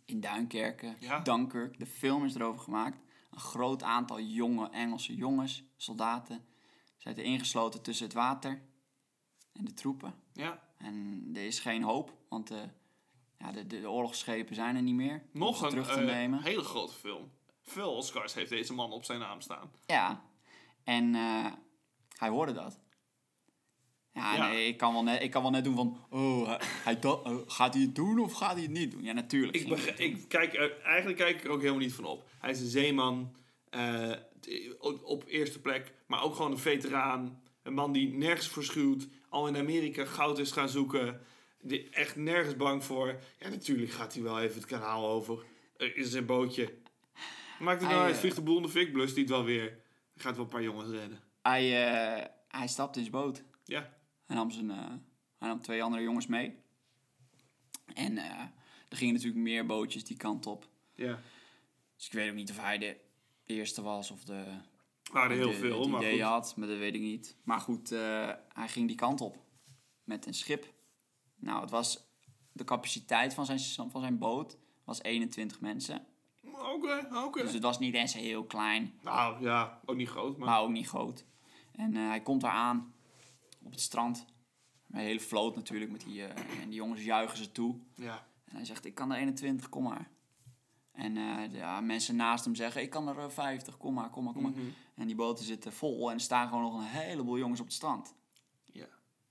Speaker 1: in Duinkerken,
Speaker 2: Ja.
Speaker 1: Dunkirk. De film is erover gemaakt. Een groot aantal jonge Engelse jongens, soldaten, zaten ingesloten tussen het water en de troepen.
Speaker 2: Ja,
Speaker 1: En er is geen hoop, want eh, ja, de, de, de oorlogsschepen zijn er niet meer. om
Speaker 2: nog
Speaker 1: ze
Speaker 2: een
Speaker 1: terug te
Speaker 2: eh,
Speaker 1: nemen.
Speaker 2: hele grote film. Veel Oscars heeft deze man op zijn naam staan.
Speaker 1: Ja, en eh, hij hoorde dat. Ja,
Speaker 2: Ja.
Speaker 1: Nee, ik, kan wel net, ik kan wel net doen van, oh, hij, hij do- eh, gaat hij het doen of gaat hij het niet doen? Ja, natuurlijk.
Speaker 2: Ik,
Speaker 1: ging hij
Speaker 2: beg-
Speaker 1: het doen.
Speaker 2: ik kijk, er- eigenlijk kijk ik er ook helemaal niet van op. Hij is een zeeman, eh, t- op- op eerste plek, maar ook gewoon een veteraan. Een man die nergens voor schuwt, al in Amerika goud is gaan zoeken. Die echt nergens bang voor. Ja, natuurlijk gaat hij wel even het kanaal over. Er is zijn bootje. Maakt het
Speaker 1: Hij,
Speaker 2: nou uit,
Speaker 1: eh,
Speaker 2: vliegt de boel in de fik, blust hij het wel weer. Hij Gaat wel een paar jongens redden.
Speaker 1: Hij, eh, hij stapte in zijn boot.
Speaker 2: Ja,
Speaker 1: Hij nam, zijn, eh, hij nam twee andere jongens mee. En eh, er gingen natuurlijk meer bootjes die kant op.
Speaker 2: ja.
Speaker 1: Dus ik weet ook niet of hij de eerste was of de...
Speaker 2: Waren er heel
Speaker 1: de-
Speaker 2: veel,
Speaker 1: het
Speaker 2: maar
Speaker 1: idee
Speaker 2: goed.
Speaker 1: had, maar dat weet ik niet. Maar goed, eh, hij ging die kant op. Met een schip. Nou, het was... De capaciteit van zijn, van zijn boot was 21 mensen.
Speaker 2: Oké, oké.
Speaker 1: Dus het was niet eens heel klein.
Speaker 2: eh, Nou ja, ook niet groot, maar...
Speaker 1: Maar ook niet groot. En eh, hij komt daar aan op het strand. Met een hele vloot natuurlijk. Met die, eh, en die jongens juichen ze toe.
Speaker 2: Ja.
Speaker 1: En hij zegt, ik kan er 21, kom maar. En eh, de- ja, mensen naast hem zeggen, ik kan er eh, 50, kom maar, kom maar, kom maar.
Speaker 2: Mhm.
Speaker 1: En die boten zitten vol en er staan gewoon nog een heleboel jongens op het strand.
Speaker 2: Ja.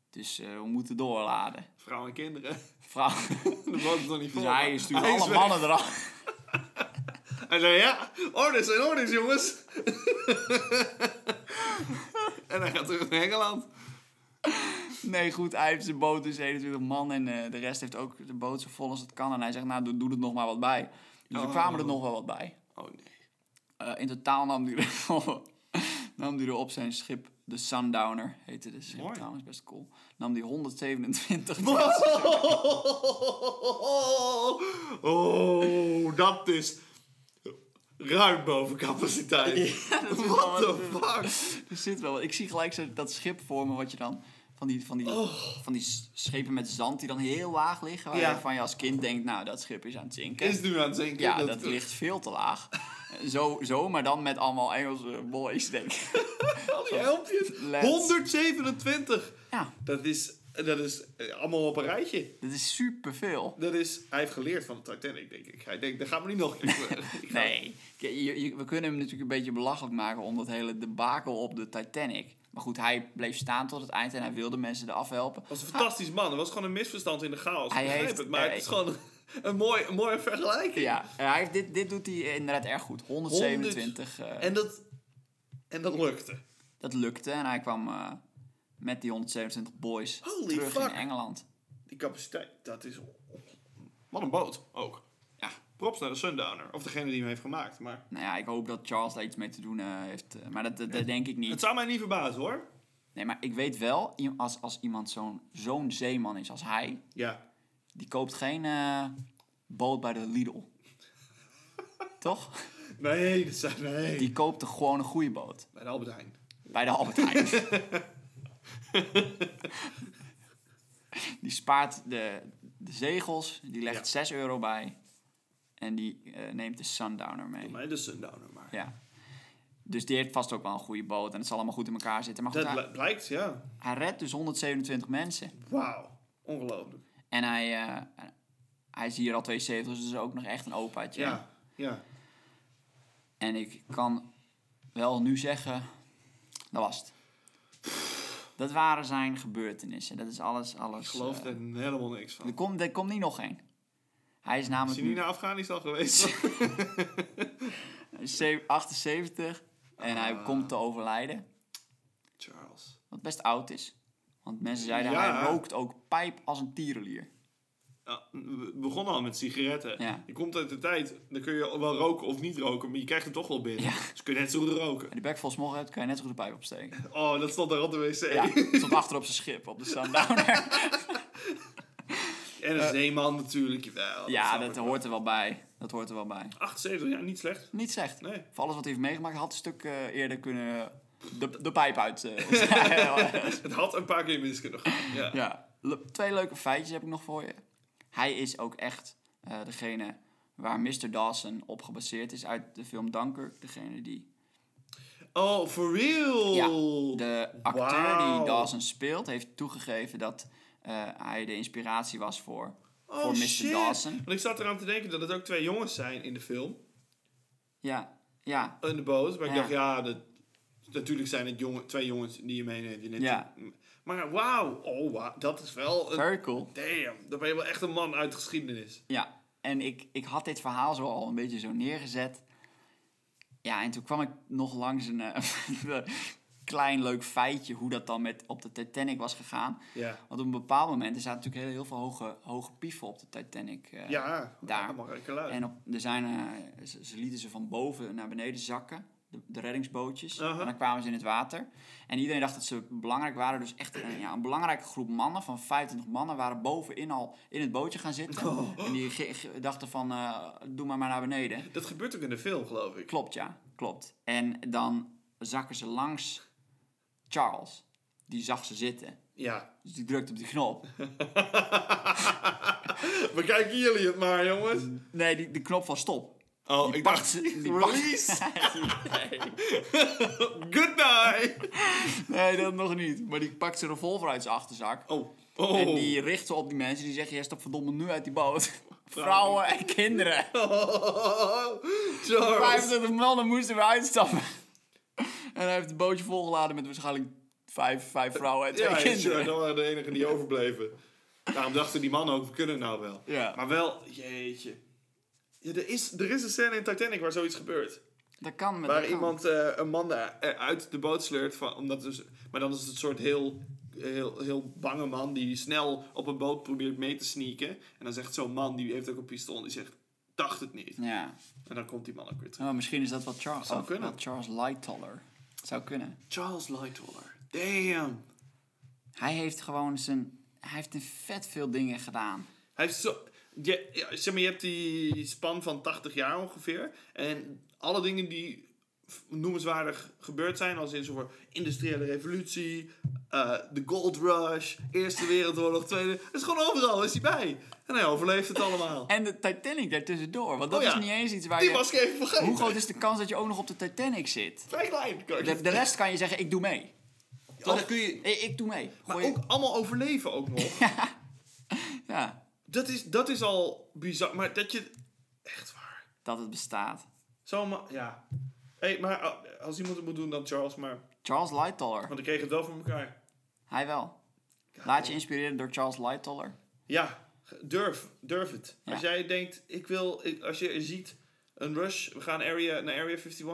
Speaker 1: Dus eh, we moeten doorladen.
Speaker 2: Vrouwen en kinderen.
Speaker 1: Vrouw,
Speaker 2: De boot is nog niet vol.
Speaker 1: dus hij stuurt
Speaker 2: Hij is
Speaker 1: alle
Speaker 2: weg.
Speaker 1: mannen eraf.
Speaker 2: Hij zei, ja, oh, orders zijn orders, jongens. en hij gaat terug naar Engeland.
Speaker 1: Nee, goed, hij heeft zijn boot dus 21 man en eh, de rest heeft ook de boot zo vol als het kan. En hij zegt, nou, doe, doe er nog maar wat bij. Dus er
Speaker 2: Oh.
Speaker 1: kwamen er nog wel wat bij.
Speaker 2: Oh nee.
Speaker 1: Eh, in totaal nam hij, er, nam hij er op zijn schip, de Sundowner heette de schip
Speaker 2: Mooi.
Speaker 1: trouwens, best cool. Nam die 127
Speaker 2: Oh, dat is ruim boven
Speaker 1: dat
Speaker 2: capaciteit.
Speaker 1: is eh,
Speaker 2: What
Speaker 1: wel
Speaker 2: the
Speaker 1: wat-
Speaker 2: fuck?
Speaker 1: Er zit wel. wat. Ik zie gelijk zo dat schip voor me, wat je dan. Van die, van, die, van die s- schepen met zand die dan heel laag liggen.
Speaker 2: Oh. Ja.
Speaker 1: Waarvan je als kind denkt, nou dat schip is aan het zinken.
Speaker 2: Is nu aan het zinken.
Speaker 1: ja, dat, ligt veel te laag. zo, zo, maar dan met allemaal Engelse boys, denk ik.
Speaker 2: Al Oh, die helpjes.
Speaker 1: Let's.
Speaker 2: 127.
Speaker 1: ja,
Speaker 2: Dat is, dat is eh, allemaal op een rijtje.
Speaker 1: dat is superveel.
Speaker 2: Dat is, hij heeft geleerd van de Titanic, denk ik. Hij denkt, dat gaat me niet nog. Ik, eh, ik ga-
Speaker 1: Nee, je- je- je- we kunnen hem natuurlijk een beetje belachelijk maken om dat hele debakel op de Titanic. Maar goed, hij bleef staan tot het eind en hij wilde mensen eraf helpen.
Speaker 2: was een fantastisch man. Er was gewoon een misverstand in de chaos.
Speaker 1: Hij
Speaker 2: ik begrijp
Speaker 1: heeft-
Speaker 2: het, maar
Speaker 1: eh,
Speaker 2: het is gewoon een, een mooi, een mooie vergelijking.
Speaker 1: Ja, hij heeft dit, dit doet hij inderdaad erg goed. 127. eh,
Speaker 2: En, dat, en dat lukte.
Speaker 1: Dat lukte en hij kwam eh, met die 127 boys
Speaker 2: Holy
Speaker 1: terug
Speaker 2: fuck.
Speaker 1: in Engeland.
Speaker 2: Die capaciteit, dat is... Wat een boot, ook. Ja, props naar de Sundowner. Of degene die hem heeft gemaakt. Maar
Speaker 1: Nou ja, ik hoop dat Charles daar iets mee te doen eh, heeft. eh, maar dat, dat, dat denk ik
Speaker 2: het
Speaker 1: niet.
Speaker 2: zou mij niet verbazen, hoor.
Speaker 1: Nee, maar ik weet wel, i- als, als iemand zo'n zo'n zeeman is als hij,
Speaker 2: Ja.
Speaker 1: die koopt geen eh, boot bij de Lidl. Toch?
Speaker 2: Nee, dat zijn... Nee.
Speaker 1: Die koopt er gewoon een goede boot.
Speaker 2: Bij de Albert Heijn.
Speaker 1: Bij de Albert Heijn. die spaart de, de zegels, die legt
Speaker 2: Ja.
Speaker 1: 6 euro bij. En die eh, neemt de Sundowner mee.
Speaker 2: Maar de Sundowner maar.
Speaker 1: Ja. Dus die heeft vast ook wel een goede boot en het zal allemaal goed in elkaar zitten. Maar goed,
Speaker 2: Dat
Speaker 1: hij,
Speaker 2: bl- blijkt, ja.
Speaker 1: hij redt dus 127 mensen.
Speaker 2: Wauw. Ongelooflijk.
Speaker 1: En hij, eh, hij is hier al 72, dus is ook nog echt een opaatje.
Speaker 2: Ja. Ja.
Speaker 1: En ik kan wel nu zeggen, dat was het. Dat waren zijn gebeurtenissen. Dat is alles, alles.
Speaker 2: Ik geloof
Speaker 1: eh,
Speaker 2: er helemaal niks van.
Speaker 1: er, komt, er komt niet nog één. Hij is
Speaker 2: Is
Speaker 1: namelijk
Speaker 2: hij niet
Speaker 1: nu
Speaker 2: naar Afghanistan geweest?
Speaker 1: 7- 78 en hij
Speaker 2: Ah.
Speaker 1: komt te overlijden.
Speaker 2: Charles.
Speaker 1: Wat best oud is. Want mensen zeiden,
Speaker 2: Ja.
Speaker 1: hij rookt ook pijp als een tierenlier.
Speaker 2: Ja, we begonnen al met sigaretten.
Speaker 1: Ja.
Speaker 2: Je komt uit de tijd, dan kun je wel roken of niet roken, maar je krijgt het toch wel binnen.
Speaker 1: Ja.
Speaker 2: Dus kun je net zo goed roken.
Speaker 1: En die bek vol smog hebt, kan je net zo goed de pijp opsteken.
Speaker 2: Oh, dat stond daar op de wc.
Speaker 1: Ja, het stond achter op zijn schip, op de Sundowner.
Speaker 2: En een zeeman natuurlijk, jawel.
Speaker 1: Eh. ja,
Speaker 2: snap
Speaker 1: dat
Speaker 2: ik.
Speaker 1: hoort er wel bij. Dat hoort er wel bij.
Speaker 2: 78, ja, niet slecht.
Speaker 1: Niet slecht.
Speaker 2: Nee.
Speaker 1: Voor alles wat hij heeft meegemaakt, had een stuk eh, eerder kunnen... De, de pijp uit. eh,
Speaker 2: Het had een paar keer mis kunnen gaan. Ja.
Speaker 1: ja. Le- Twee leuke feitjes heb ik nog voor je. Hij is ook echt eh, degene waar Mr. Dawson op gebaseerd is uit de film Dunkirk. Degene die
Speaker 2: Oh, for real!
Speaker 1: Ja, de acteur die
Speaker 2: Wauw.
Speaker 1: Dawson speelt heeft toegegeven dat eh, hij de inspiratie was voor,
Speaker 2: Oh,
Speaker 1: voor Mr.
Speaker 2: shit.
Speaker 1: Dawson.
Speaker 2: Want ik zat eraan te denken dat het ook twee jongens zijn in de film,
Speaker 1: Ja, ja,
Speaker 2: in de boot. Maar ik
Speaker 1: Ja.
Speaker 2: dacht, ja, dat, natuurlijk zijn het jongen, twee jongens die je meeneemt. die net-
Speaker 1: Ja.
Speaker 2: Maar wauw, oh, wauw, dat is wel een
Speaker 1: very cool.
Speaker 2: Damn, dan ben je wel echt een man uit de geschiedenis.
Speaker 1: Ja, en ik, ik had dit verhaal zo al een beetje zo neergezet. Ja, en toen kwam ik nog langs een eh, klein leuk feitje hoe dat dan met, op de Titanic was gegaan.
Speaker 2: Ja.
Speaker 1: Want op een bepaald moment, er zaten natuurlijk heel, heel veel hoge, hoge pieven op de Titanic. eh,
Speaker 2: Ja,
Speaker 1: Daar.
Speaker 2: allemaal rijke lui.
Speaker 1: En op, er zijn, eh, ze, ze lieten ze van boven naar beneden zakken, de, de reddingsbootjes.
Speaker 2: Aha.
Speaker 1: En dan kwamen ze in het water. En iedereen dacht dat ze belangrijk waren. Dus echt een, ja, een belangrijke groep mannen van 25 mannen waren bovenin al in het bootje gaan zitten. En die ge- ge- dachten van, eh, doe maar maar naar beneden.
Speaker 2: Dat gebeurt ook in de film, geloof ik.
Speaker 1: Klopt, ja. Klopt. En dan zakken ze langs Charles. Die zag ze zitten.
Speaker 2: Ja.
Speaker 1: Dus die drukte op die knop.
Speaker 2: Bekijken jullie het maar, jongens.
Speaker 1: Nee, die, die knop van stop.
Speaker 2: Oh,
Speaker 1: Die
Speaker 2: ik
Speaker 1: pakt
Speaker 2: dacht...
Speaker 1: ze- die pakt-
Speaker 2: Release! Goodbye!
Speaker 1: Nee, Nee, dat nog niet. Maar die pakt zijn revolver uit zijn achterzak.
Speaker 2: Oh. Oh.
Speaker 1: En die richt ze op die mensen. Die zeggen, jij stapt verdomme nu uit die boot. Vrouwen en kinderen.
Speaker 2: Oh. Charles.
Speaker 1: 25 mannen moesten weer uitstappen. En hij heeft het bootje volgeladen met waarschijnlijk vijf, vijf vrouwen en twee
Speaker 2: Ja, ja, sure,
Speaker 1: kinderen.
Speaker 2: dat waren de enigen die overbleven. Daarom dachten die mannen ook, we kunnen het nou wel.
Speaker 1: Ja.
Speaker 2: Maar wel, jeetje. Ja, er, is, er is een scène in Titanic waar zoiets gebeurt.
Speaker 1: Dat kan met
Speaker 2: Waar
Speaker 1: dat kan.
Speaker 2: iemand eh, een man eh, uit de boot sleurt. Van, omdat dus, maar dan is het een soort heel, heel, heel bange man die snel op een boot probeert mee te sneaken. En dan zegt zo'n man, die heeft ook een pistool, en die zegt, dacht het niet.
Speaker 1: Ja.
Speaker 2: En dan komt die man ook weer terug.
Speaker 1: Nou, misschien is dat wat Charles...
Speaker 2: Zou
Speaker 1: of
Speaker 2: kunnen.
Speaker 1: Wat Charles Lightoller. Zou kunnen.
Speaker 2: Charles Lightoller. Damn.
Speaker 1: Hij heeft gewoon zijn... Hij heeft een vet veel dingen gedaan.
Speaker 2: Hij heeft zo... Je, ja, zeg maar, je hebt die span van 80 jaar ongeveer. En alle dingen die f- noemenswaardig gebeurd zijn, als in zo'n industriële revolutie, eh, de gold rush, Eerste Wereldoorlog, Tweede... Het is gewoon overal, is hij bij. En hij overleeft het allemaal.
Speaker 1: En de Titanic daartussendoor. Want dat
Speaker 2: Oh ja.
Speaker 1: is niet eens iets waar
Speaker 2: Die
Speaker 1: je...
Speaker 2: was ik even vergeten.
Speaker 1: Hoe groot is de kans dat je ook nog op de Titanic zit?
Speaker 2: Vrij klein. kan ik
Speaker 1: De, de rest kan je zeggen, ik doe mee.
Speaker 2: Ja, dat kun je...
Speaker 1: Ik, ik doe mee.
Speaker 2: Maar
Speaker 1: Gooi-
Speaker 2: ook allemaal overleven ook nog.
Speaker 1: Ja,
Speaker 2: Dat, is, dat is al bizar. Maar dat je... Echt waar.
Speaker 1: dat het bestaat.
Speaker 2: Zomaar... Ja. hey, maar eh, als iemand het moet doen, dan Charles maar...
Speaker 1: Charles Lightoller.
Speaker 2: Want ik kreeg het wel voor elkaar.
Speaker 1: Hij wel. Laat je inspireren door Charles Lightoller.
Speaker 2: Ja, durf, durf het.
Speaker 1: Ja.
Speaker 2: Als jij denkt, ik wil, ik, als je ziet een rush, we gaan area, naar Area 51,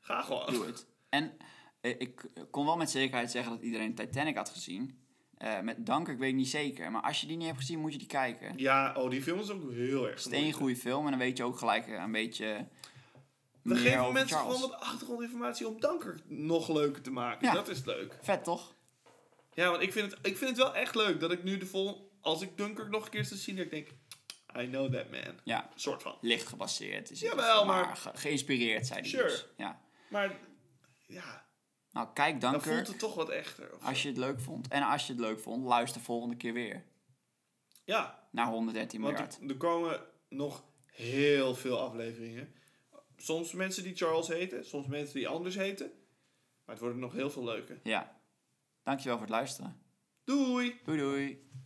Speaker 2: ga gewoon.
Speaker 1: Doe het. En eh, ik kon wel met zekerheid zeggen dat iedereen Titanic had gezien. Eh, met dank, ik weet niet zeker. Maar als je die niet hebt gezien, moet je die kijken. Het
Speaker 2: Ja, oh, die film is ook heel erg.
Speaker 1: is één goede film en dan weet je ook gelijk eh, een beetje
Speaker 2: We
Speaker 1: meer
Speaker 2: geven
Speaker 1: over
Speaker 2: mensen
Speaker 1: Charles.
Speaker 2: gewoon wat achtergrondinformatie om Danker nog leuker te maken.
Speaker 1: Ja.
Speaker 2: Dat is leuk.
Speaker 1: Vet toch?
Speaker 2: Ja, want ik vind, het, ik vind het wel echt leuk dat ik nu de vol... Als ik Dunkirk nog een keer zou zien, dat ik denk... I know that man.
Speaker 1: Ja.
Speaker 2: Soort van.
Speaker 1: Licht gebaseerd. Is het,
Speaker 2: Jawel, maar-
Speaker 1: ge- geïnspireerd, zei hij
Speaker 2: Sure.
Speaker 1: dus. Ja.
Speaker 2: Maar ja,
Speaker 1: Nou, kijk
Speaker 2: dan
Speaker 1: Dunkirk.
Speaker 2: voelt het toch wat echter. of-
Speaker 1: Als je het leuk vond. En als je het leuk vond, luister volgende keer weer.
Speaker 2: Ja,
Speaker 1: Naar 113
Speaker 2: Want
Speaker 1: miljard.
Speaker 2: er, er komen nog heel veel afleveringen. Soms mensen die Charles heten, soms mensen die anders heten. Maar het worden nog heel veel leuke.
Speaker 1: Ja. Dankjewel voor het luisteren.
Speaker 2: Doei!
Speaker 1: Doei doei.